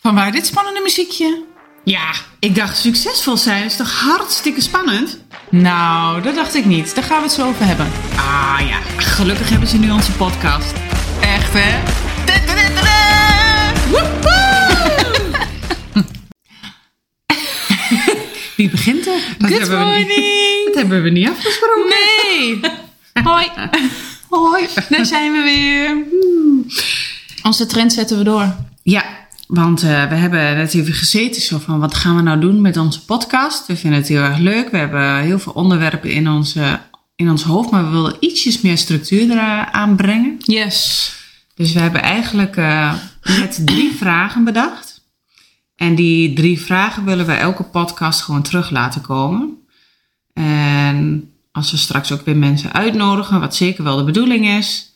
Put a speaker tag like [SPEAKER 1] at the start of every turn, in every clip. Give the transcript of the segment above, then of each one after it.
[SPEAKER 1] Vanwaar dit spannende muziekje?
[SPEAKER 2] Ja, ik dacht succesvol zijn is toch hartstikke spannend?
[SPEAKER 1] Nou, dat dacht ik niet. Daar gaan we het zo over hebben.
[SPEAKER 2] Ah ja, gelukkig hebben ze nu onze podcast.
[SPEAKER 1] Echt, hè?
[SPEAKER 2] Wie begint er? Dat
[SPEAKER 1] Good
[SPEAKER 2] hebben we niet-
[SPEAKER 1] morning!
[SPEAKER 2] dat hebben we niet afgesproken.
[SPEAKER 1] Nee! Hoi! Hoi, daar zijn we weer. Onze trend zetten we door.
[SPEAKER 2] Ja, want eh, we hebben net even gezeten zo van wat gaan we nou doen met onze podcast. We vinden het heel erg leuk. We hebben heel veel onderwerpen in, onze, in ons hoofd, maar we wilden ietsjes meer structuur eraan brengen.
[SPEAKER 1] Yes.
[SPEAKER 2] Dus we hebben eigenlijk eh, net drie vragen bedacht. En die drie vragen willen we elke podcast gewoon terug laten komen. En als we straks ook weer mensen uitnodigen, wat zeker wel de bedoeling is,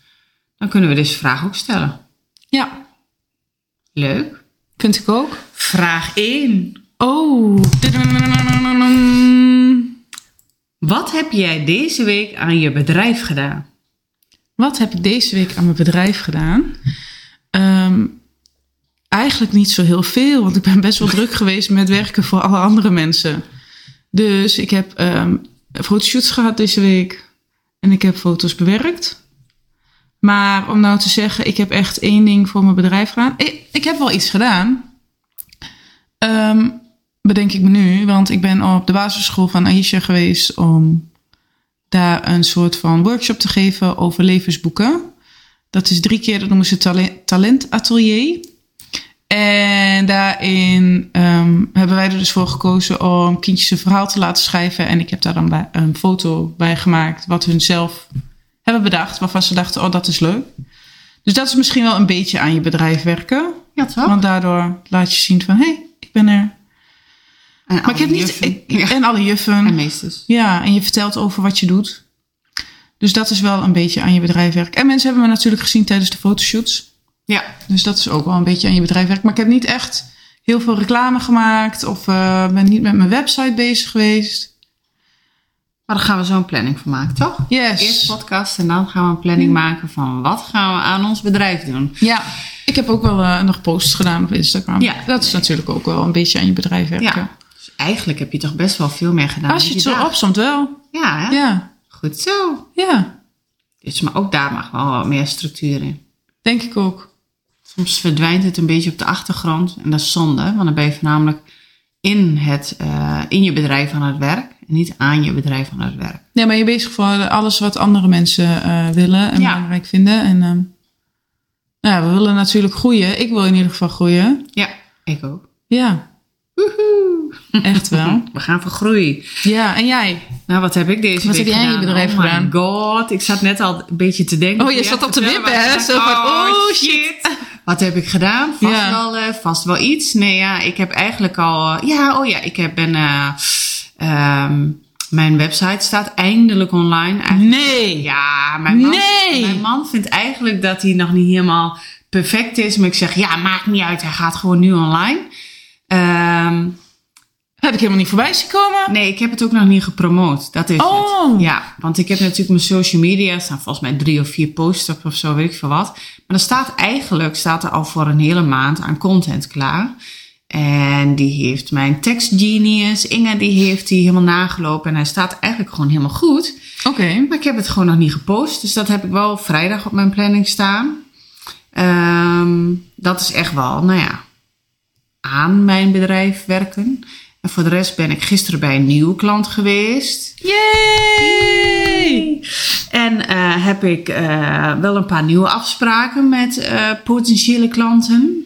[SPEAKER 2] dan kunnen we deze vraag ook stellen.
[SPEAKER 1] Ja,
[SPEAKER 2] Leuk.
[SPEAKER 1] vind ik ook.
[SPEAKER 2] Vraag 1.
[SPEAKER 1] Oh.
[SPEAKER 2] Wat heb jij deze week aan je bedrijf gedaan?
[SPEAKER 1] Wat heb ik deze week aan mijn bedrijf gedaan? Ehm, eigenlijk niet zo heel veel, want ik ben best wel druk geweest met werken voor alle andere mensen. Dus ik heb ehm fotoshoots gehad deze week en ik heb foto's bewerkt. Maar om nou te zeggen, ik heb echt één ding voor mijn bedrijf gedaan. Ik, ik heb wel iets gedaan. Ehm, bedenk ik me nu, want ik ben op de basisschool van Aisha geweest om daar een soort van workshop te geven over levensboeken. Dat is drie keer, dat noemen ze tale- talentatelier. En daarin ehm, hebben wij er dus voor gekozen om kindjes een verhaal te laten schrijven. En ik heb daar dan bij- een foto bij gemaakt wat hun zelf hebben bedacht. Waarvan ze dachten, oh dat is leuk. Dus dat is misschien wel een beetje aan je bedrijf werken.
[SPEAKER 2] Ja, toch?
[SPEAKER 1] Want daardoor laat je zien van, hé, hey, ik ben er. Maar ik heb niet... ik- en alle juffen.
[SPEAKER 2] En meesters.
[SPEAKER 1] Ja, en je vertelt over wat je doet. Dus dat is wel een beetje aan je bedrijfwerk. En mensen hebben me natuurlijk gezien tijdens de fotoshoots.
[SPEAKER 2] Ja.
[SPEAKER 1] Dus dat is ook wel een beetje aan je bedrijfwerk. Maar ik heb niet echt heel veel reclame gemaakt. Of eh, ben niet met mijn website bezig geweest.
[SPEAKER 2] Maar daar gaan we zo een planning van maken, toch?
[SPEAKER 1] Yes.
[SPEAKER 2] Eerst podcast en dan gaan we een planning maken van wat gaan we aan ons bedrijf doen.
[SPEAKER 1] Ja, ik heb ook wel eh, nog posts gedaan op Instagram.
[SPEAKER 2] Ja.
[SPEAKER 1] Dat is natuurlijk ook wel een beetje aan je bedrijfwerk.
[SPEAKER 2] Ja. Dus eigenlijk heb je toch best wel veel meer gedaan.
[SPEAKER 1] Als je
[SPEAKER 2] met
[SPEAKER 1] het zo
[SPEAKER 2] dag.
[SPEAKER 1] opzomt wel.
[SPEAKER 2] Ja, hè?
[SPEAKER 1] Ja.
[SPEAKER 2] goed zo.
[SPEAKER 1] ja,
[SPEAKER 2] Dus, maar ook daar mag wel wat meer structuur in.
[SPEAKER 1] denk ik ook.
[SPEAKER 2] Soms verdwijnt het een beetje op de achtergrond en dat is zonde, want dan ben je voornamelijk in, het, eh, in je bedrijf aan het werk en niet aan je bedrijf aan het werk.
[SPEAKER 1] Ja, ben je bezig voor alles wat andere mensen eh, willen en
[SPEAKER 2] Ja.
[SPEAKER 1] belangrijk vinden. En ehm, nou ja, we willen natuurlijk groeien. Ik wil in ieder geval groeien.
[SPEAKER 2] Ja, ik ook.
[SPEAKER 1] Ja,
[SPEAKER 2] Woehoe.
[SPEAKER 1] echt wel.
[SPEAKER 2] We gaan voor groei.
[SPEAKER 1] ja, en jij?
[SPEAKER 2] Nou, wat heb ik deze
[SPEAKER 1] Wat
[SPEAKER 2] week
[SPEAKER 1] heb jij in je
[SPEAKER 2] gedaan?
[SPEAKER 1] bedrijf
[SPEAKER 2] oh
[SPEAKER 1] gedaan?
[SPEAKER 2] my god, ik zat net al een beetje te denken.
[SPEAKER 1] Oh, je
[SPEAKER 2] Ja,
[SPEAKER 1] zat op te
[SPEAKER 2] vertel maar.
[SPEAKER 1] wippen, hè?
[SPEAKER 2] Ik
[SPEAKER 1] Zo
[SPEAKER 2] dacht,
[SPEAKER 1] van,
[SPEAKER 2] oh,
[SPEAKER 1] oh,
[SPEAKER 2] shit. Wat heb ik gedaan? Vast,
[SPEAKER 1] Ja.
[SPEAKER 2] wel, eh, vast wel iets. Nee, ja, ik heb eigenlijk al... eh, Ja, oh ja, ik heb, ben... eh, ehm, mijn website staat eindelijk online. Eigenlijk-
[SPEAKER 1] Nee.
[SPEAKER 2] ja, mijn man,
[SPEAKER 1] Nee!
[SPEAKER 2] mijn man vindt eigenlijk dat hij nog niet helemaal perfect is. Maar ik zeg, ja, maakt niet uit. Hij gaat gewoon nu online. Ehm,
[SPEAKER 1] Heb ik helemaal niet voorbij zien komen.
[SPEAKER 2] Nee, ik heb het ook nog niet gepromoot. Dat is
[SPEAKER 1] Oh.
[SPEAKER 2] het. Ja, want ik heb natuurlijk mijn social media. Er staan volgens mij drie of vier posts op of zo, weet ik veel wat. Maar er staat eigenlijk staat er al voor een hele maand aan content klaar. En die heeft mijn text genius, Inge, die heeft die helemaal nagelopen. En hij staat eigenlijk gewoon helemaal goed.
[SPEAKER 1] Oké.
[SPEAKER 2] Maar ik heb het gewoon nog niet gepost. Dus dat heb ik wel vrijdag op mijn planning staan. Ehm, dat is echt wel, nou ja, aan mijn bedrijf werken. En voor de rest ben ik gisteren bij een nieuwe klant geweest.
[SPEAKER 1] Yay!
[SPEAKER 2] En eh, heb ik eh, wel een paar nieuwe afspraken met eh, potentiële klanten.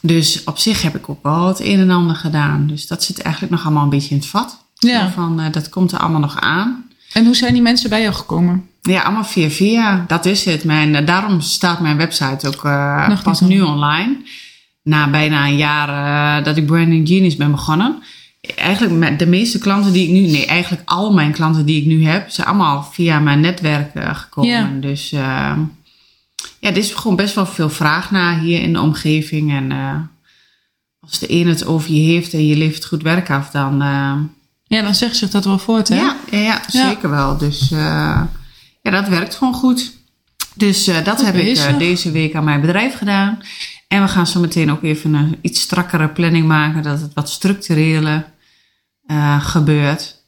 [SPEAKER 2] Dus op zich heb ik ook wel het een en ander gedaan. Dus dat zit eigenlijk nog allemaal een beetje in het vat.
[SPEAKER 1] Ja.
[SPEAKER 2] Zo Van, eh, dat komt er allemaal nog aan.
[SPEAKER 1] En hoe zijn die mensen bij jou gekomen?
[SPEAKER 2] Ja, allemaal via via. Dat is het. Mijn, eh, daarom staat mijn website ook eh,
[SPEAKER 1] Nog niet
[SPEAKER 2] pas nu online. Na bijna een jaar eh, dat ik Branding Genius ben begonnen. Eigenlijk met de meeste klanten die ik nu... Nee, eigenlijk al mijn klanten die ik nu heb... zijn allemaal via mijn netwerk eh, gekomen.
[SPEAKER 1] Ja.
[SPEAKER 2] Dus eh, ja, er is gewoon best wel veel vraag naar hier in de omgeving. En eh, als de een het over je heeft en je levert goed werk af... dan eh,
[SPEAKER 1] Ja, dan zegt zich dat wel voort, hè?
[SPEAKER 2] ja, ja, ja,
[SPEAKER 1] Ja.
[SPEAKER 2] zeker wel. Dus eh, ja, dat werkt gewoon goed. Dus eh, dat
[SPEAKER 1] Goed
[SPEAKER 2] heb ik eh,
[SPEAKER 1] bezig.
[SPEAKER 2] deze week aan mijn bedrijf gedaan. En we gaan zo meteen ook even een iets strakkere planning maken, dat het wat structureler eh, gebeurt.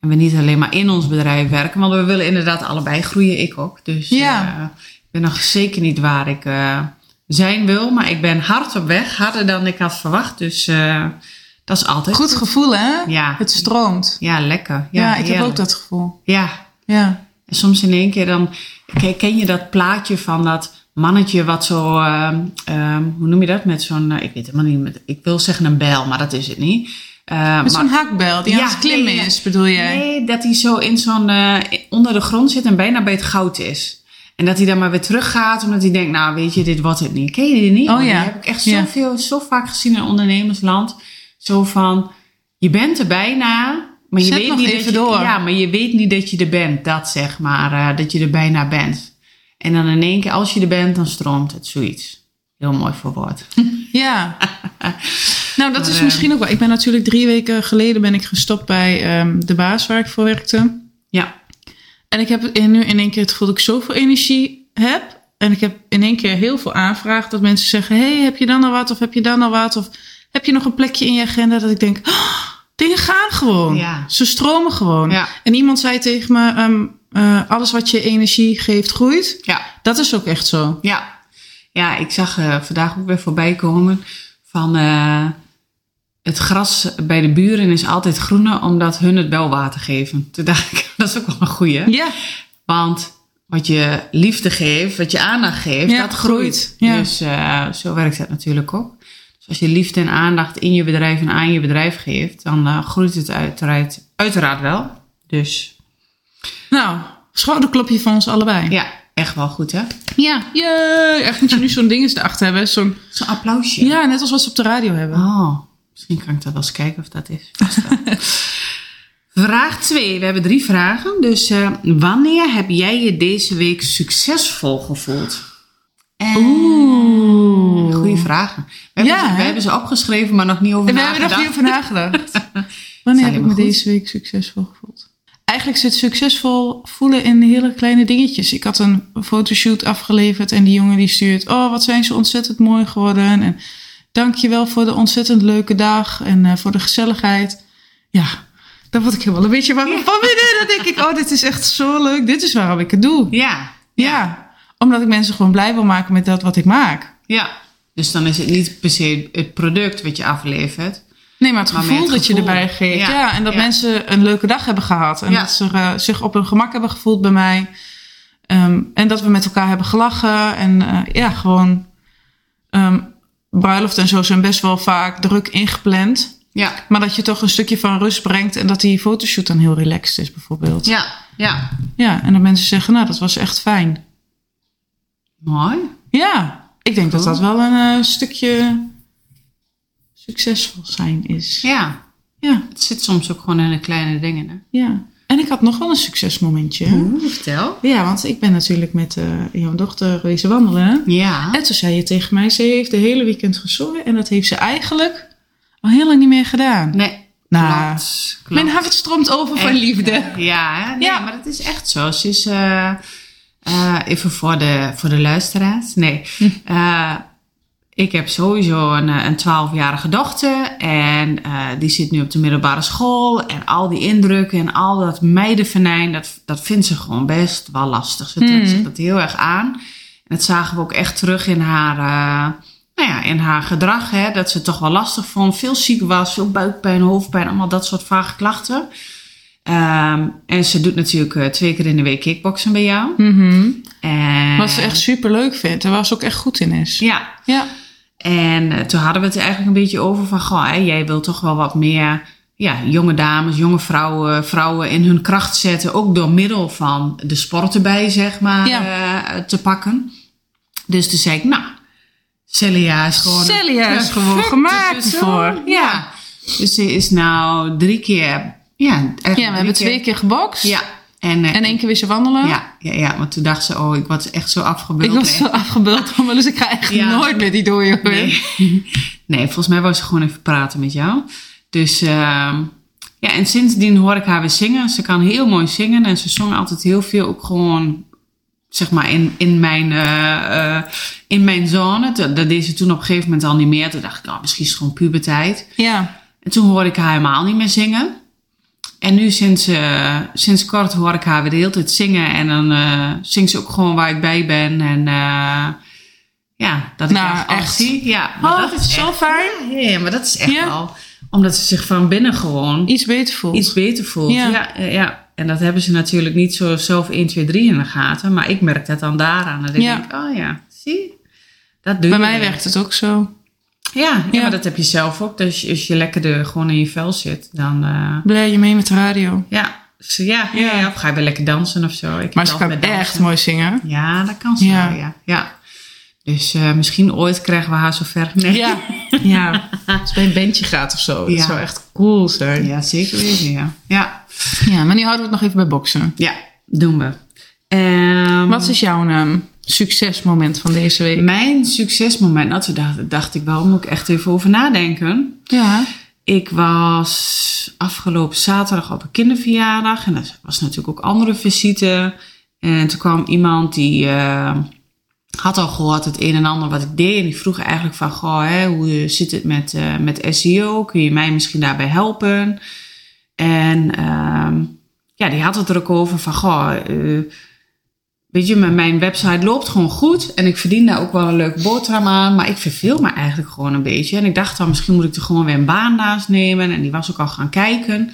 [SPEAKER 2] En we niet alleen maar in ons bedrijf werken, want we willen inderdaad allebei groeien, ik ook. Dus
[SPEAKER 1] Ja.
[SPEAKER 2] eh, ik ben nog zeker niet waar ik eh, zijn wil, maar ik ben hard op weg, harder dan ik had verwacht. Dus eh, dat is altijd
[SPEAKER 1] Goed gevoel, hè?
[SPEAKER 2] Ja,
[SPEAKER 1] Het stroomt.
[SPEAKER 2] ja lekker.
[SPEAKER 1] Ja,
[SPEAKER 2] Ja,
[SPEAKER 1] ik heb
[SPEAKER 2] heerlijk.
[SPEAKER 1] ook dat gevoel.
[SPEAKER 2] Ja,
[SPEAKER 1] Ja.
[SPEAKER 2] en soms in één keer dan ken- ken je dat plaatje van dat mannetje wat zo, ehm, ehm, hoe noem je dat? Met zo'n, eh, ik weet helemaal niet, met, ik wil zeggen een bijl, maar dat is het niet. Eh, maar-
[SPEAKER 1] Met zo'n hakbel die
[SPEAKER 2] Ja,
[SPEAKER 1] aan het klimmen
[SPEAKER 2] nee, nee.
[SPEAKER 1] is, bedoel jij?
[SPEAKER 2] nee, dat hij zo in zo'n, eh, onder de grond zit en bijna bij het goud is. En dat hij dan maar weer teruggaat omdat hij denkt, nou weet je, dit wordt het niet. Ken je die niet?
[SPEAKER 1] Oh
[SPEAKER 2] Die
[SPEAKER 1] ja.
[SPEAKER 2] heb ik echt
[SPEAKER 1] Ja.
[SPEAKER 2] zoveel, zo vaak gezien in ondernemersland. Zo van, je bent er bijna, maar je
[SPEAKER 1] Zet
[SPEAKER 2] weet
[SPEAKER 1] nog
[SPEAKER 2] niet
[SPEAKER 1] even
[SPEAKER 2] dat je,
[SPEAKER 1] door.
[SPEAKER 2] Ja, maar je weet niet dat je er bent. Dat zeg maar, eh, dat je er bijna bent. En dan in één keer, als je er bent, dan stroomt het zoiets. Heel mooi verwoord.
[SPEAKER 1] Ja. nou, dat
[SPEAKER 2] Maar,
[SPEAKER 1] is
[SPEAKER 2] eh,
[SPEAKER 1] misschien ook wel. Ik ben natuurlijk drie weken geleden ben ik gestopt bij ehm, de baas waar ik voor werkte.
[SPEAKER 2] Ja,
[SPEAKER 1] En ik heb in- nu in één keer het gevoel dat ik zoveel energie heb. En ik heb in één keer heel veel aanvragen dat mensen zeggen: hey, heb je dan al wat? Of heb je dan al wat? Of heb je nog een plekje in je agenda? Dat ik denk: "Oh, dingen gaan gewoon.
[SPEAKER 2] Ja.
[SPEAKER 1] Ze stromen gewoon.
[SPEAKER 2] ja,
[SPEAKER 1] En iemand zei tegen me: ehm, eh, alles wat je energie geeft, groeit.
[SPEAKER 2] ja.
[SPEAKER 1] Dat is ook echt zo.
[SPEAKER 2] Ja, ja ik zag eh, vandaag ook weer voorbij komen van eh, het gras bij de buren is altijd groener omdat hun het wel water geven. Toen dacht ik, dat is ook wel een goeie.
[SPEAKER 1] Ja,
[SPEAKER 2] Want wat je liefde geeft, wat je aandacht geeft,
[SPEAKER 1] Ja,
[SPEAKER 2] dat groeit.
[SPEAKER 1] groeit, ja.
[SPEAKER 2] Dus eh, zo werkt het natuurlijk ook. Dus als je liefde en aandacht in je bedrijf en aan je bedrijf geeft, dan eh, groeit het uiteraard, uiteraard wel. Dus
[SPEAKER 1] nou, schouderklopje van ons allebei.
[SPEAKER 2] ja, echt wel goed hè.
[SPEAKER 1] Ja. Jee, echt moet je nu zo'n ding eens erachter hebben. Zo'n,
[SPEAKER 2] Zo'n applausje.
[SPEAKER 1] ja, net als wat ze op de radio hebben.
[SPEAKER 2] Oh, misschien kan ik dat wel eens kijken of dat is. Vast wel. Vraag 2. We hebben drie vragen. Dus eh, wanneer heb jij je deze week succesvol gevoeld? En-
[SPEAKER 1] Oeh.
[SPEAKER 2] Goeie vragen. We hebben,
[SPEAKER 1] Ja,
[SPEAKER 2] ze, we
[SPEAKER 1] hè?
[SPEAKER 2] hebben ze opgeschreven, maar nog niet over
[SPEAKER 1] En we hebben er
[SPEAKER 2] nagedacht.
[SPEAKER 1] nog niet over nagedacht. Wanneer heb ik me
[SPEAKER 2] helemaal goed.
[SPEAKER 1] deze week succesvol gevoeld? Eigenlijk zit succesvol voelen in hele kleine dingetjes. Ik had een fotoshoot afgeleverd en die jongen die stuurt... Oh, wat zijn ze ontzettend mooi geworden. En dankjewel voor de ontzettend leuke dag en eh, voor de gezelligheid. Ja, daar word ik helemaal een beetje warm van binnen. Dan denk ik, oh, dit is echt zo leuk. Dit is waarom ik het doe.
[SPEAKER 2] Ja,
[SPEAKER 1] Ja, omdat ik mensen gewoon blij wil maken met dat wat ik maak.
[SPEAKER 2] ja. Dus dan is het niet per se het product wat je aflevert.
[SPEAKER 1] Nee, maar het
[SPEAKER 2] Maar
[SPEAKER 1] gevoel,
[SPEAKER 2] met het
[SPEAKER 1] dat je
[SPEAKER 2] gevoel.
[SPEAKER 1] erbij geeft. Ja,
[SPEAKER 2] Ja,
[SPEAKER 1] en dat
[SPEAKER 2] ja.
[SPEAKER 1] mensen een leuke dag hebben gehad. En
[SPEAKER 2] Ja.
[SPEAKER 1] dat ze eh, zich op hun gemak hebben gevoeld bij mij. Ehm, en dat we met elkaar hebben gelachen. En eh, ja, gewoon... ehm bruiloft en zo zijn best wel vaak druk ingepland.
[SPEAKER 2] Ja,
[SPEAKER 1] Maar dat je toch een stukje van rust brengt. En dat die fotoshoot dan heel relaxed is bijvoorbeeld.
[SPEAKER 2] ja, ja.
[SPEAKER 1] Ja, en dat mensen zeggen, nou dat was echt fijn.
[SPEAKER 2] Mooi.
[SPEAKER 1] Ja, ik denk dat
[SPEAKER 2] Cool.
[SPEAKER 1] dat wel een eh, stukje succesvol zijn is.
[SPEAKER 2] Ja,
[SPEAKER 1] Ja,
[SPEAKER 2] het zit soms ook gewoon in de kleine dingen. Hè?
[SPEAKER 1] ja. En ik had nog wel een succesmomentje.
[SPEAKER 2] Oeh, vertel.
[SPEAKER 1] Ja, want ik ben natuurlijk met eh, jouw dochter geweest wandelen.
[SPEAKER 2] Ja.
[SPEAKER 1] En toen zei je tegen mij, ze heeft de hele weekend gezongen. En dat heeft ze eigenlijk al heel lang niet meer gedaan.
[SPEAKER 2] Nee.
[SPEAKER 1] Nou,
[SPEAKER 2] klopt, klopt.
[SPEAKER 1] Mijn hart stroomt over van
[SPEAKER 2] Echt,
[SPEAKER 1] liefde.
[SPEAKER 2] hè? Ja, hè? Nee,
[SPEAKER 1] Ja.
[SPEAKER 2] maar dat is echt zo. Ze is, eh, eh, even voor de, voor de luisteraars. Nee, Eh, ik heb sowieso een, eh, een 12-jarige dochter en eh, die zit nu op de middelbare school. En al die indrukken en al dat meidenvenijn, dat, dat vindt ze gewoon best wel lastig. Ze trekt
[SPEAKER 1] Mhm.
[SPEAKER 2] zich dat heel erg aan. En dat zagen we ook echt terug in haar, eh, nou ja, in haar gedrag. Hè, dat ze het toch wel lastig vond. Veel ziek was, veel buikpijn, hoofdpijn, allemaal dat soort vage klachten. Ehm, en ze doet natuurlijk eh, twee keer in de week kickboksen bij jou.
[SPEAKER 1] Mhm.
[SPEAKER 2] En,
[SPEAKER 1] Wat ze echt super leuk vindt en waar ze ook echt goed in is.
[SPEAKER 2] Ja,
[SPEAKER 1] Ja,
[SPEAKER 2] en eh, toen hadden we het er eigenlijk een beetje over van... Goh, hè, jij wil toch wel wat meer ja, jonge dames, jonge vrouwen, vrouwen in hun kracht zetten. Ook door middel van de sport erbij, zeg maar,
[SPEAKER 1] Ja.
[SPEAKER 2] eh, te pakken. Dus toen zei ik, nou, Celia is gewoon...
[SPEAKER 1] Celia is
[SPEAKER 2] een
[SPEAKER 1] gewoon
[SPEAKER 2] perfecte
[SPEAKER 1] gemaakt
[SPEAKER 2] persoon.
[SPEAKER 1] ervoor.
[SPEAKER 2] Ja, dus ze is nou drie keer... Ja, eigenlijk
[SPEAKER 1] ja we hebben twee keer gebokst.
[SPEAKER 2] Ja, en, eh,
[SPEAKER 1] En één keer weer ze wandelen.
[SPEAKER 2] Ja, ja, ja, want toen dacht ze, oh, ik was echt zo afgebeuld.
[SPEAKER 1] Ik was
[SPEAKER 2] Nee.
[SPEAKER 1] zo afgebeeld om, dus ik ga echt
[SPEAKER 2] Ja.
[SPEAKER 1] nooit meer die dooie hoor.
[SPEAKER 2] Nee. nee, volgens mij wou ze gewoon even praten met jou. Dus ehm, ja, en sindsdien hoor ik haar weer zingen. Ze kan heel mooi zingen en ze zong altijd heel veel ook gewoon zeg maar, in, in, mijn, eh, eh, in mijn zone. Toen- Dat deed ze toen op een gegeven moment al niet meer. Toen dacht ik, nou, misschien is het gewoon puberteit.
[SPEAKER 1] Ja.
[SPEAKER 2] En toen hoorde ik haar helemaal niet meer zingen. En nu sinds, eh, sinds kort hoor ik haar weer de hele tijd zingen. En dan eh zingt ze ook gewoon waar ik bij ben. En eh, ja, dat ik
[SPEAKER 1] Nou,
[SPEAKER 2] echt, alles
[SPEAKER 1] echt.
[SPEAKER 2] zie. Ja, maar
[SPEAKER 1] Oh,
[SPEAKER 2] dat is
[SPEAKER 1] zo
[SPEAKER 2] echt-
[SPEAKER 1] fijn.
[SPEAKER 2] Ja, ja, maar dat is echt
[SPEAKER 1] Ja.
[SPEAKER 2] al. Omdat ze zich van binnen gewoon
[SPEAKER 1] Iets beter voelt.
[SPEAKER 2] iets beter voelt.
[SPEAKER 1] Ja.
[SPEAKER 2] Ja. Ja, eh, ja. En dat hebben ze natuurlijk niet zo zelf 1, 2, 3 in de gaten. Maar ik merk dat dan daaraan. En dan
[SPEAKER 1] Ja.
[SPEAKER 2] denk ik, oh ja, zie. Dat doe
[SPEAKER 1] Bij
[SPEAKER 2] je
[SPEAKER 1] mij
[SPEAKER 2] weer.
[SPEAKER 1] werkt het ook zo.
[SPEAKER 2] Ja, ja,
[SPEAKER 1] Ja.
[SPEAKER 2] maar dat heb je zelf ook. Dus als je lekker er gewoon in je vel zit, dan... eh,
[SPEAKER 1] Blij je mee met de radio.
[SPEAKER 2] ja. Dus ja, ja.
[SPEAKER 1] Ja.
[SPEAKER 2] ja, of ga je weer lekker dansen of zo. Ik
[SPEAKER 1] Maar ze
[SPEAKER 2] heb
[SPEAKER 1] kan
[SPEAKER 2] altijd met
[SPEAKER 1] echt
[SPEAKER 2] dansen.
[SPEAKER 1] mooi zingen.
[SPEAKER 2] Ja, dat kan ze
[SPEAKER 1] Ja.
[SPEAKER 2] wel, ja. ja. Dus eh, misschien ooit krijgen we haar zover. Nee.
[SPEAKER 1] Ja. ja. Als bij een bandje gaat of zo.
[SPEAKER 2] Ja.
[SPEAKER 1] Dat zou echt cool zijn.
[SPEAKER 2] Ja, zeker weten, ja. Ja,
[SPEAKER 1] Ja, maar nu houden we het nog even bij boksen.
[SPEAKER 2] ja doen we. Ehm,
[SPEAKER 1] Wat is jouw ehm, succesmoment van deze week?
[SPEAKER 2] Mijn succesmoment, nou, toen dacht, dacht ik wel, moet ik echt even over nadenken.
[SPEAKER 1] Ja.
[SPEAKER 2] Ik was afgelopen zaterdag op een kinderverjaardag en er was natuurlijk ook andere visite. En toen kwam iemand die eh, had al gehoord het een en ander wat ik deed. En die vroeg eigenlijk van, goh, hè, hoe zit het met, eh, met SEO? Kun je mij misschien daarbij helpen? En ehm, ja, die had het er ook over van, goh, eh, weet je, mijn- mijn website loopt gewoon goed en ik verdien daar ook wel een leuke boterham aan, maar ik verveel me eigenlijk gewoon een beetje. En ik dacht dan, misschien moet ik er gewoon weer een baan naast nemen en die was ook al gaan kijken.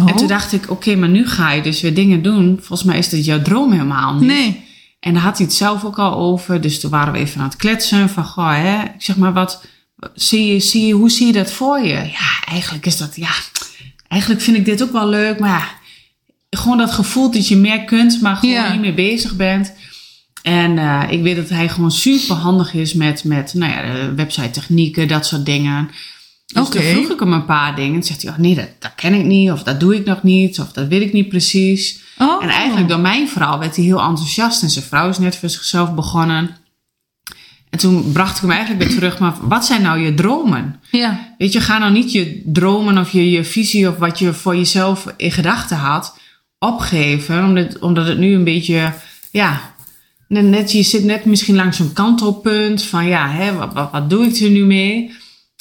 [SPEAKER 1] Oh.
[SPEAKER 2] En toen dacht ik, oké, maar nu ga je dus weer dingen doen. Volgens mij is dit jouw droom helemaal niet.
[SPEAKER 1] Nee.
[SPEAKER 2] En daar had hij het zelf ook al over. Dus toen waren we even aan het kletsen. Van, goh, hè, ik zeg maar, wat, zie je, zie je, hoe zie je dat voor je? Ja, eigenlijk is dat, ja, eigenlijk vind ik dit ook wel leuk. Maar ja, gewoon dat gevoel dat je meer kunt, maar gewoon
[SPEAKER 1] Ja.
[SPEAKER 2] niet meer bezig bent. En eh, ik weet dat hij gewoon super handig is met, met nou ja, eh, website technieken, dat soort dingen. Dus
[SPEAKER 1] Oké.
[SPEAKER 2] toen vroeg ik hem een paar dingen. Toen zegt hij, oh nee, dat, dat ken ik niet. Of dat doe ik nog niet. Of dat weet ik niet precies.
[SPEAKER 1] Oh.
[SPEAKER 2] En eigenlijk door mijn vrouw werd hij heel enthousiast. En zijn vrouw is net voor zichzelf begonnen. En toen bracht ik hem eigenlijk weer terug. Maar wat zijn nou je dromen?
[SPEAKER 1] Ja.
[SPEAKER 2] Weet je, ga nou niet je dromen of je, je visie of wat je voor jezelf in gedachten had opgeven. Omdat, omdat het nu een beetje, ja, net, net- je zit net misschien langs een kantelpunt van ja, hè, wat, wat, wat doe ik er nu mee?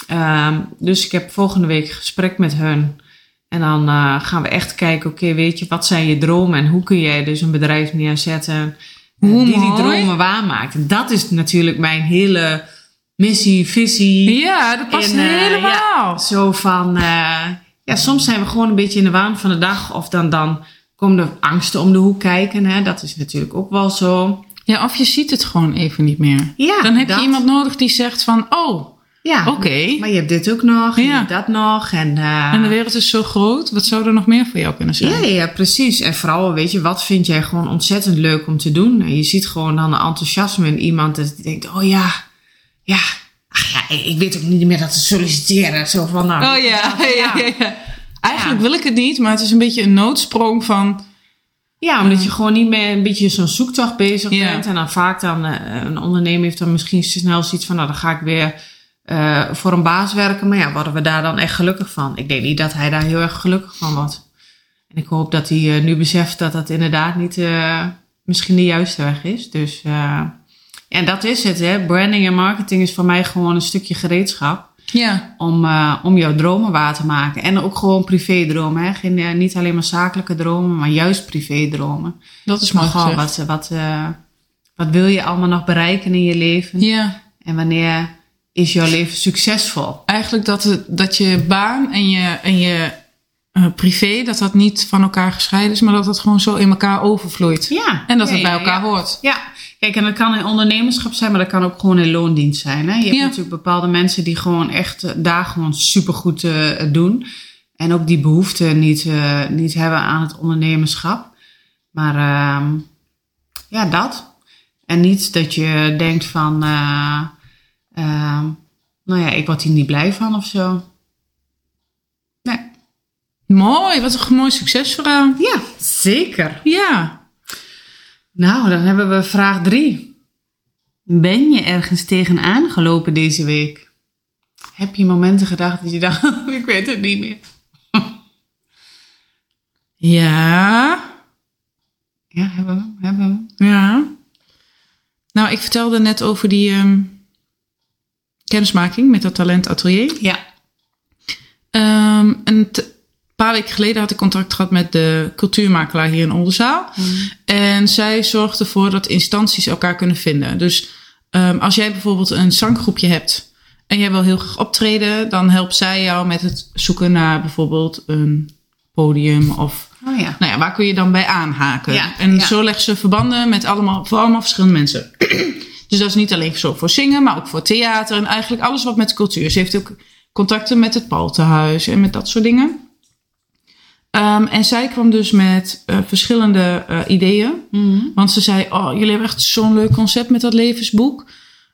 [SPEAKER 2] Ehm, dus ik heb volgende week een gesprek met hun. En dan eh, gaan we echt kijken, oké, weet je, wat zijn je dromen en hoe kun jij dus een bedrijf neerzetten eh,
[SPEAKER 1] Hoe
[SPEAKER 2] die die
[SPEAKER 1] mooi.
[SPEAKER 2] dromen waarmaakt. En dat is natuurlijk mijn hele missie, visie.
[SPEAKER 1] Ja, dat past
[SPEAKER 2] En, eh,
[SPEAKER 1] helemaal.
[SPEAKER 2] ja, zo van, eh, ja, soms zijn we gewoon een beetje in de waan van de dag. Of dan, dan komen de angsten om de hoek kijken. Hè? Dat is natuurlijk ook wel zo.
[SPEAKER 1] Ja, of je ziet het gewoon even niet meer.
[SPEAKER 2] Ja,
[SPEAKER 1] Dan heb
[SPEAKER 2] dat.
[SPEAKER 1] je iemand nodig die zegt van, oh,
[SPEAKER 2] Ja,
[SPEAKER 1] oké.
[SPEAKER 2] maar je hebt dit ook nog, en je
[SPEAKER 1] Ja.
[SPEAKER 2] hebt dat nog. En, eh,
[SPEAKER 1] En de wereld is zo groot, wat zou er nog meer voor jou kunnen zijn?
[SPEAKER 2] ja, ja, precies. En vooral, weet je, wat vind jij gewoon ontzettend leuk om te doen? En je ziet gewoon dan de enthousiasme in iemand dat die denkt, oh ja, ja. Ach ja, ik weet ook niet meer dat ze solliciteren. Zo van, nou,
[SPEAKER 1] Oh ja, ja, ja, ja. Eigenlijk
[SPEAKER 2] Ja.
[SPEAKER 1] wil ik het niet, maar het is een beetje een noodsprong van...
[SPEAKER 2] Ja, omdat je gewoon niet meer een beetje zo'n zoektocht bezig
[SPEAKER 1] Ja.
[SPEAKER 2] bent. En dan vaak dan, eh, een ondernemer heeft dan misschien snel zoiets van, nou dan ga ik weer eh, voor een baas werken. Maar ja, worden we daar dan echt gelukkig van? Ik denk niet dat hij daar heel erg gelukkig van wordt. En ik hoop dat hij eh, nu beseft dat dat inderdaad niet eh, misschien de juiste weg is. Dus, eh, en dat is het hè. Branding en marketing is voor mij gewoon een stukje gereedschap
[SPEAKER 1] Ja,
[SPEAKER 2] om, eh, om jouw dromen waar te maken. En ook gewoon privédromen. Hè? Geen, eh, niet alleen maar zakelijke dromen, maar juist privédromen.
[SPEAKER 1] dat is
[SPEAKER 2] Maar
[SPEAKER 1] mooi
[SPEAKER 2] gewoon,
[SPEAKER 1] gezegd.
[SPEAKER 2] wat, eh, wat, eh, wat wil je allemaal nog bereiken in je leven?
[SPEAKER 1] Ja,
[SPEAKER 2] En wanneer is jouw leven succesvol?
[SPEAKER 1] eigenlijk dat, het- dat je baan en je, en je eh, privé, dat dat niet van elkaar gescheiden is, maar dat dat gewoon zo in elkaar overvloeit.
[SPEAKER 2] Ja.
[SPEAKER 1] En dat
[SPEAKER 2] Ja,
[SPEAKER 1] het bij
[SPEAKER 2] ja,
[SPEAKER 1] elkaar
[SPEAKER 2] ja.
[SPEAKER 1] hoort.
[SPEAKER 2] Ja, kijk, en dat kan in ondernemerschap zijn, maar dat kan ook gewoon in loondienst zijn. Hè? Je hebt
[SPEAKER 1] Ja.
[SPEAKER 2] natuurlijk bepaalde mensen die gewoon echt eh, daar gewoon supergoed eh, het doen. En ook die behoefte niet, eh, niet hebben aan het ondernemerschap. Maar ehm, ja, dat. En niet dat je denkt van, eh, ehm, nou ja, ik word hier niet blij van of zo. Nee.
[SPEAKER 1] Mooi, wat een mooi succesverhaal.
[SPEAKER 2] Ja, zeker.
[SPEAKER 1] Ja,
[SPEAKER 2] Nou, dan hebben we vraag 3. Ben je ergens tegenaan gelopen deze week? Heb je momenten gedacht dat je dacht, ik weet het niet meer?
[SPEAKER 1] ja.
[SPEAKER 2] Ja, hebben we hem, hebben we hem.
[SPEAKER 1] Ja. Nou, ik vertelde net over die ehm, kennismaking met dat talent atelier.
[SPEAKER 2] Ja.
[SPEAKER 1] Ehm, een t- paar weken geleden had ik contact gehad met de cultuurmakelaar hier in Oldenzaal. En zij zorgt ervoor dat instanties elkaar kunnen vinden. Dus ehm, als jij bijvoorbeeld een zanggroepje hebt en jij wil heel graag optreden, dan helpt zij jou met het zoeken naar bijvoorbeeld een podium of
[SPEAKER 2] Oh ja.
[SPEAKER 1] nou ja, waar kun je dan bij aanhaken?
[SPEAKER 2] Ja,
[SPEAKER 1] en
[SPEAKER 2] ja.
[SPEAKER 1] zo legt ze verbanden met allemaal, voor allemaal verschillende mensen. dus dat is niet alleen zo voor zingen, maar ook voor theater en eigenlijk alles wat met cultuur. Ze heeft ook contacten met het Paltenhuis en met dat soort dingen. Ehm, en zij kwam dus met eh, verschillende eh, ideeën.
[SPEAKER 2] Mhm.
[SPEAKER 1] Want ze zei, oh, jullie hebben echt zo'n leuk concept met dat levensboek.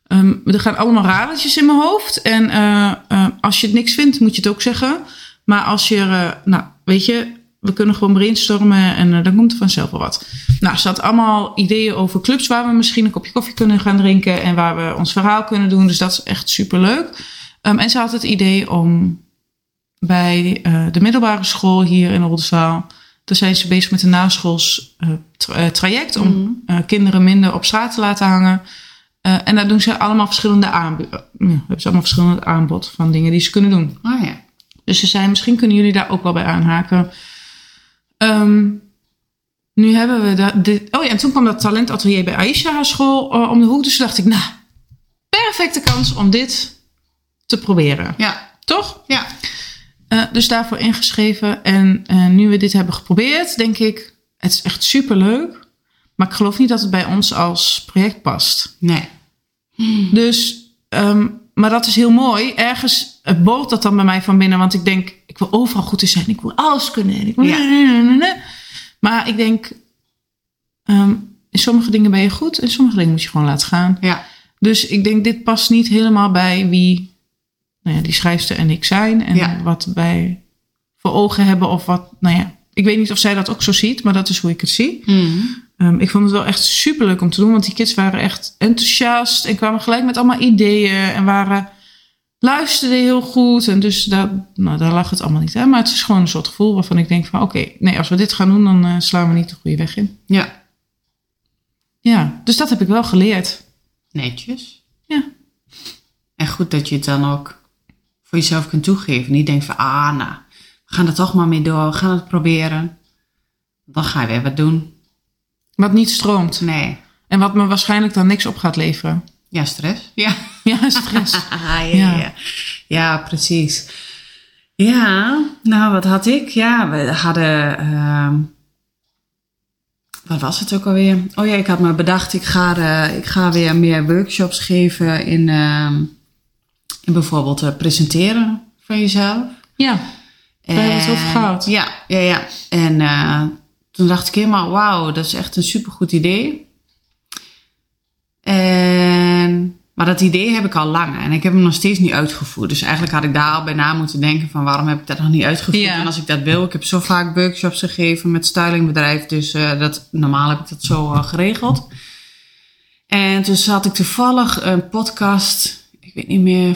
[SPEAKER 1] Ehm, er gaan allemaal radertjes in mijn hoofd. En eh, eh, als je het niks vindt, moet je het ook zeggen. Maar als je, eh, nou, weet je, we kunnen gewoon brainstormen en eh, dan komt er vanzelf wel wat. Nou, ze had allemaal ideeën over clubs waar we misschien een kopje koffie kunnen gaan drinken. En waar we ons verhaal kunnen doen. Dus dat is echt superleuk. Ehm, en ze had het idee om bij eh, de middelbare school hier in Oldenzaal... Toen zijn ze bezig met een naschools eh, tra- eh, traject om eh, kinderen minder op straat te laten hangen. Eh, en daar doen ze allemaal verschillende aanbod. hebben ze allemaal verschillend aanbod van dingen die ze kunnen doen.
[SPEAKER 2] Oh ja.
[SPEAKER 1] Dus ze zei, misschien kunnen jullie daar ook wel bij aanhaken. Ehm, nu hebben we dat. dit- Oh ja, en toen kwam dat talentatelier bij Aisha haar school eh, om de hoek. Dus toen dacht ik, nou, perfecte kans om dit te proberen.
[SPEAKER 2] Ja.
[SPEAKER 1] Toch?
[SPEAKER 2] Ja.
[SPEAKER 1] Eh, dus daarvoor ingeschreven. En eh, nu we dit hebben geprobeerd, denk ik, het is echt superleuk. Maar ik geloof niet dat het bij ons als project past.
[SPEAKER 2] Nee.
[SPEAKER 1] Dus, ehm, maar dat is heel mooi. Ergens eh, boort dat dan bij mij van binnen. Want ik denk, ik wil overal goed in zijn. Ik wil alles kunnen. En ik wil Maar ik denk, ehm, in sommige dingen ben je goed. In sommige dingen moet je gewoon laten gaan.
[SPEAKER 2] Ja.
[SPEAKER 1] Dus ik denk, dit past niet helemaal bij wie nou ja, die schrijfster en ik zijn. En
[SPEAKER 2] Ja.
[SPEAKER 1] wat wij voor ogen hebben of wat, nou ja. Ik weet niet of zij dat ook zo ziet, maar dat is hoe ik het zie. Ehm, ik vond het wel echt super leuk om te doen, want die kids waren echt enthousiast en kwamen gelijk met allemaal ideeën en waren, luisterden heel goed. En dus daar, nou, daar lag het allemaal niet aan. Maar het is gewoon een soort gevoel waarvan ik denk van oké, nee, als we dit gaan doen, dan eh, slaan we niet de goede weg in.
[SPEAKER 2] Ja.
[SPEAKER 1] Ja, dus dat heb ik wel geleerd.
[SPEAKER 2] Netjes.
[SPEAKER 1] Ja.
[SPEAKER 2] En goed dat je het dan ook voor jezelf kunt toegeven. Niet denkt van, ah nou, we gaan er toch maar mee door. We gaan het proberen. Dan ga je weer wat doen.
[SPEAKER 1] Wat niet stroomt.
[SPEAKER 2] Nee.
[SPEAKER 1] En wat me waarschijnlijk dan niks op gaat leveren.
[SPEAKER 2] Ja, stress. Ja.
[SPEAKER 1] Ja, stress.
[SPEAKER 2] ja,
[SPEAKER 1] ja,
[SPEAKER 2] ja. ja, precies. Ja, nou wat had ik? Ja, we hadden. ehm, wat was het ook alweer? Oh ja, ik had me bedacht, ik ga, eh, ik ga weer meer workshops geven in, ehm, in bijvoorbeeld eh, presenteren van jezelf.
[SPEAKER 1] ja, daar hebben we het over
[SPEAKER 2] En-
[SPEAKER 1] gehad.
[SPEAKER 2] Ja, ja, ja. En eh, toen dacht ik helemaal, wauw, dat is echt een supergoed idee. En, maar dat idee heb ik al lang en ik heb hem nog steeds niet uitgevoerd. Dus eigenlijk had ik daar al bij na moeten denken van waarom heb ik dat nog niet uitgevoerd.
[SPEAKER 1] Ja.
[SPEAKER 2] En als ik dat wil, ik heb zo vaak workshops gegeven met stylingbedrijf. Dus eh, dat, normaal heb ik dat zo eh, geregeld. En toen zat ik toevallig een podcast, ik weet niet meer,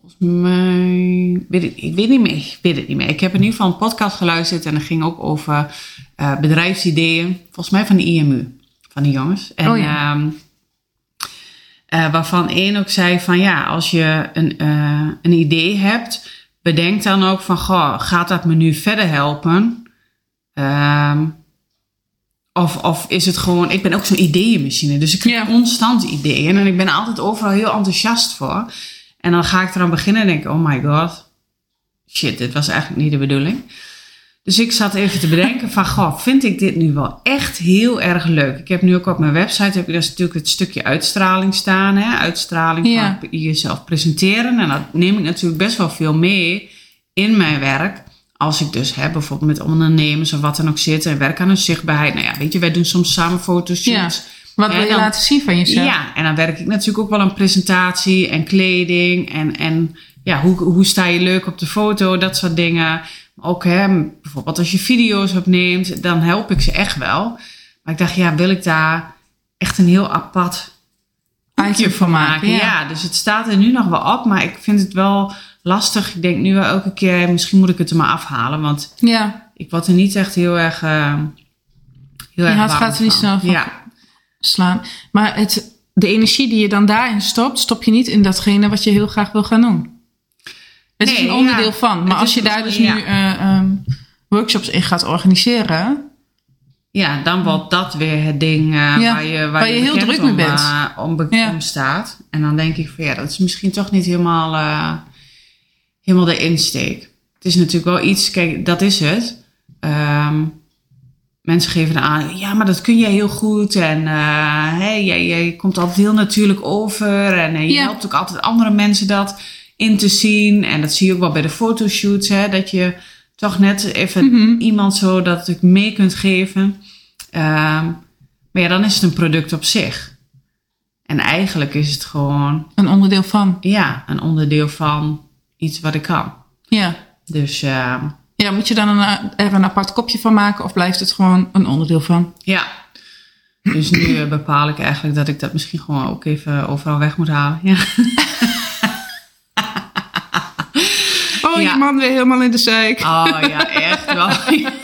[SPEAKER 2] Volgens mij. Weet ik, ik weet niet meer. Ik weet het niet meer. Ik heb in ieder geval een podcast geluisterd en dat ging ook over eh, bedrijfsideeën. Volgens mij van de IMU, van die jongens. En,
[SPEAKER 1] Oh ja.
[SPEAKER 2] ehm, eh, waarvan één ook zei van ja, als je een, eh, een idee hebt, bedenk dan ook van goh, gaat dat me nu verder helpen? Ehm, of, of is het gewoon, ik ben ook zo'n ideeënmachine, dus ik heb
[SPEAKER 1] Ja.
[SPEAKER 2] constant ideeën en ik ben altijd overal heel enthousiast voor. En dan ga ik eraan beginnen en denk ik, oh my god, shit, dit was eigenlijk niet de bedoeling. Dus ik zat even te bedenken van, goh, vind ik dit nu wel echt heel erg leuk? Ik heb nu ook op mijn website, heb ik dus natuurlijk het stukje uitstraling staan. Hè? Uitstraling
[SPEAKER 1] Ja.
[SPEAKER 2] van jezelf presenteren. En dat neem ik natuurlijk best wel veel mee in mijn werk. Als ik dus hè, bijvoorbeeld met ondernemers of wat dan ook zit en werk aan hun zichtbaarheid. Nou ja, weet je, wij doen soms samen fotoshoots.
[SPEAKER 1] Wat
[SPEAKER 2] Ja,
[SPEAKER 1] wil je
[SPEAKER 2] dan-
[SPEAKER 1] laten zien van jezelf?
[SPEAKER 2] Ja, en dan werk ik natuurlijk ook wel aan presentatie en kleding en, en ja, hoe, hoe sta je leuk op de foto, dat soort dingen. Ook hè, bijvoorbeeld als je video's opneemt, dan help ik ze echt wel. Maar ik dacht, ja, wil ik daar echt een heel apart
[SPEAKER 1] Item
[SPEAKER 2] hoekje van maken? Ja.
[SPEAKER 1] ja.
[SPEAKER 2] dus het staat er nu nog wel op, maar ik vind het wel lastig. Ik denk nu wel elke keer, misschien moet ik het er maar afhalen, want
[SPEAKER 1] Ja.
[SPEAKER 2] ik word er niet echt heel erg eh,
[SPEAKER 1] Je
[SPEAKER 2] heel erg
[SPEAKER 1] hart
[SPEAKER 2] warm
[SPEAKER 1] gaat er niet
[SPEAKER 2] van.
[SPEAKER 1] snel van.
[SPEAKER 2] Ja,
[SPEAKER 1] slaan. Maar het, de energie die je dan daarin stopt, stop je niet in datgene wat je heel graag wil gaan doen. Het is
[SPEAKER 2] Nee,
[SPEAKER 1] een onderdeel
[SPEAKER 2] ja.
[SPEAKER 1] van.
[SPEAKER 2] Het
[SPEAKER 1] Maar
[SPEAKER 2] is
[SPEAKER 1] als je
[SPEAKER 2] een
[SPEAKER 1] daar dus
[SPEAKER 2] onderdeel,
[SPEAKER 1] nu eh, ehm, workshops in gaat organiseren,
[SPEAKER 2] ja, dan wordt dat weer het ding eh,
[SPEAKER 1] Ja,
[SPEAKER 2] waar je, waar
[SPEAKER 1] waar je heel
[SPEAKER 2] bekend
[SPEAKER 1] druk mee
[SPEAKER 2] om,
[SPEAKER 1] bent.
[SPEAKER 2] eh, om, be-
[SPEAKER 1] Ja.
[SPEAKER 2] om staat. En dan denk ik van ja, dat is misschien toch niet helemaal, eh, helemaal de insteek. Het is natuurlijk wel iets, kijk, dat is het. Ehm, mensen geven dan aan, ja, maar dat kun jij heel goed. En eh, hey, jij, jij komt altijd heel natuurlijk over. En eh, je
[SPEAKER 1] Ja.
[SPEAKER 2] helpt ook altijd andere mensen dat in te zien. En dat zie je ook wel bij de fotoshoots, hè, dat je toch net even
[SPEAKER 1] Mhm.
[SPEAKER 2] iemand zo dat ik mee kunt geven. Ehm, maar ja, dan is het een product op zich. En eigenlijk is het gewoon,
[SPEAKER 1] een onderdeel van.
[SPEAKER 2] ja, een onderdeel van iets wat ik kan.
[SPEAKER 1] Ja.
[SPEAKER 2] Dus ehm,
[SPEAKER 1] ja, moet je dan een, eh, er een apart kopje van maken of blijft het gewoon een onderdeel van?
[SPEAKER 2] ja. Dus nu eh, bepaal ik eigenlijk dat ik dat misschien gewoon ook even overal weg moet halen. Ja.
[SPEAKER 1] Oh,
[SPEAKER 2] Ja.
[SPEAKER 1] je man weer helemaal in de zeik.
[SPEAKER 2] Oh ja, echt wel.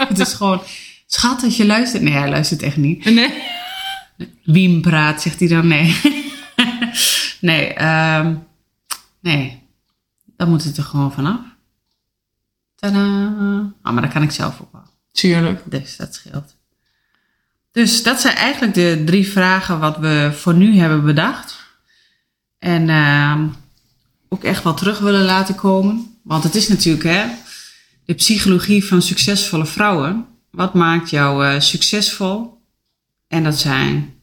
[SPEAKER 2] het is gewoon, schat, als je luistert. Nee, hij luistert echt niet.
[SPEAKER 1] Nee.
[SPEAKER 2] Wiem praat, zegt hij dan nee. nee, ehm, nee. Dan moet het er gewoon vanaf. Tadaa. Ah, maar dat kan ik zelf ook wel.
[SPEAKER 1] Tuurlijk.
[SPEAKER 2] Dus dat scheelt. Dus dat zijn eigenlijk de drie vragen wat we voor nu hebben bedacht. En ehm, ook echt wel terug willen laten komen. Want het is natuurlijk hè, de psychologie van succesvolle vrouwen. Wat maakt jou eh, succesvol? En dat zijn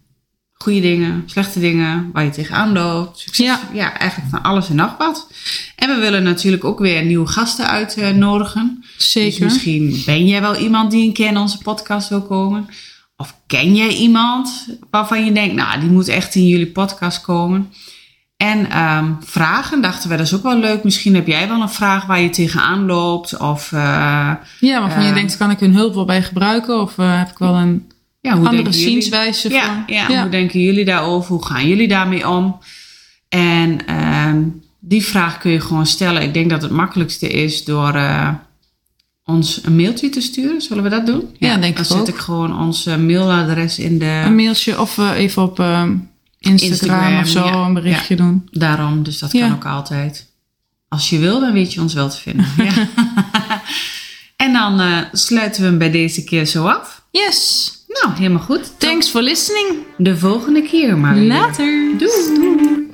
[SPEAKER 2] goede dingen, slechte dingen, waar je tegenaan loopt. Succes, ja.
[SPEAKER 1] Ja.
[SPEAKER 2] eigenlijk van alles en nog wat. En we willen natuurlijk ook weer nieuwe gasten uitnodigen. Dus
[SPEAKER 1] Zeker.
[SPEAKER 2] misschien ben jij wel iemand die een keer in onze podcast wil komen. Of ken jij iemand waarvan je denkt, nou, die moet echt in jullie podcast komen. En ehm, vragen dachten we, dat is ook wel leuk. Misschien heb jij wel een vraag waar je tegenaan loopt. Of eh,
[SPEAKER 1] Ja, waarvan je
[SPEAKER 2] Ja.
[SPEAKER 1] denkt, kan ik hun hulp wel bij gebruiken? Of eh, heb ik wel een
[SPEAKER 2] ja, hoe
[SPEAKER 1] andere
[SPEAKER 2] denken jullie-
[SPEAKER 1] zienswijze
[SPEAKER 2] Ja,
[SPEAKER 1] voor?
[SPEAKER 2] ja, hoe denken jullie daarover? Hoe gaan jullie daarmee om? En ehm, die vraag kun je gewoon stellen. Ik denk dat het makkelijkste is door eh, ons een mailtje te sturen. Zullen we dat doen?
[SPEAKER 1] Ja, denk
[SPEAKER 2] dan
[SPEAKER 1] ik
[SPEAKER 2] zet
[SPEAKER 1] ook.
[SPEAKER 2] ik gewoon ons eh, mailadres in de...
[SPEAKER 1] een mailtje of eh, even op eh, Instagram,
[SPEAKER 2] Instagram,
[SPEAKER 1] of zo
[SPEAKER 2] ja.
[SPEAKER 1] een berichtje doen.
[SPEAKER 2] Daarom, dus dat
[SPEAKER 1] Ja.
[SPEAKER 2] kan ook altijd. Als je wil, dan weet je ons wel te vinden. Ja. en dan eh, sluiten we hem bij deze keer zo af.
[SPEAKER 1] Yes.
[SPEAKER 2] Nou, helemaal goed. Tot
[SPEAKER 1] Thanks for listening.
[SPEAKER 2] de volgende keer maar weer.
[SPEAKER 1] Later.
[SPEAKER 2] Doei.
[SPEAKER 1] Doei.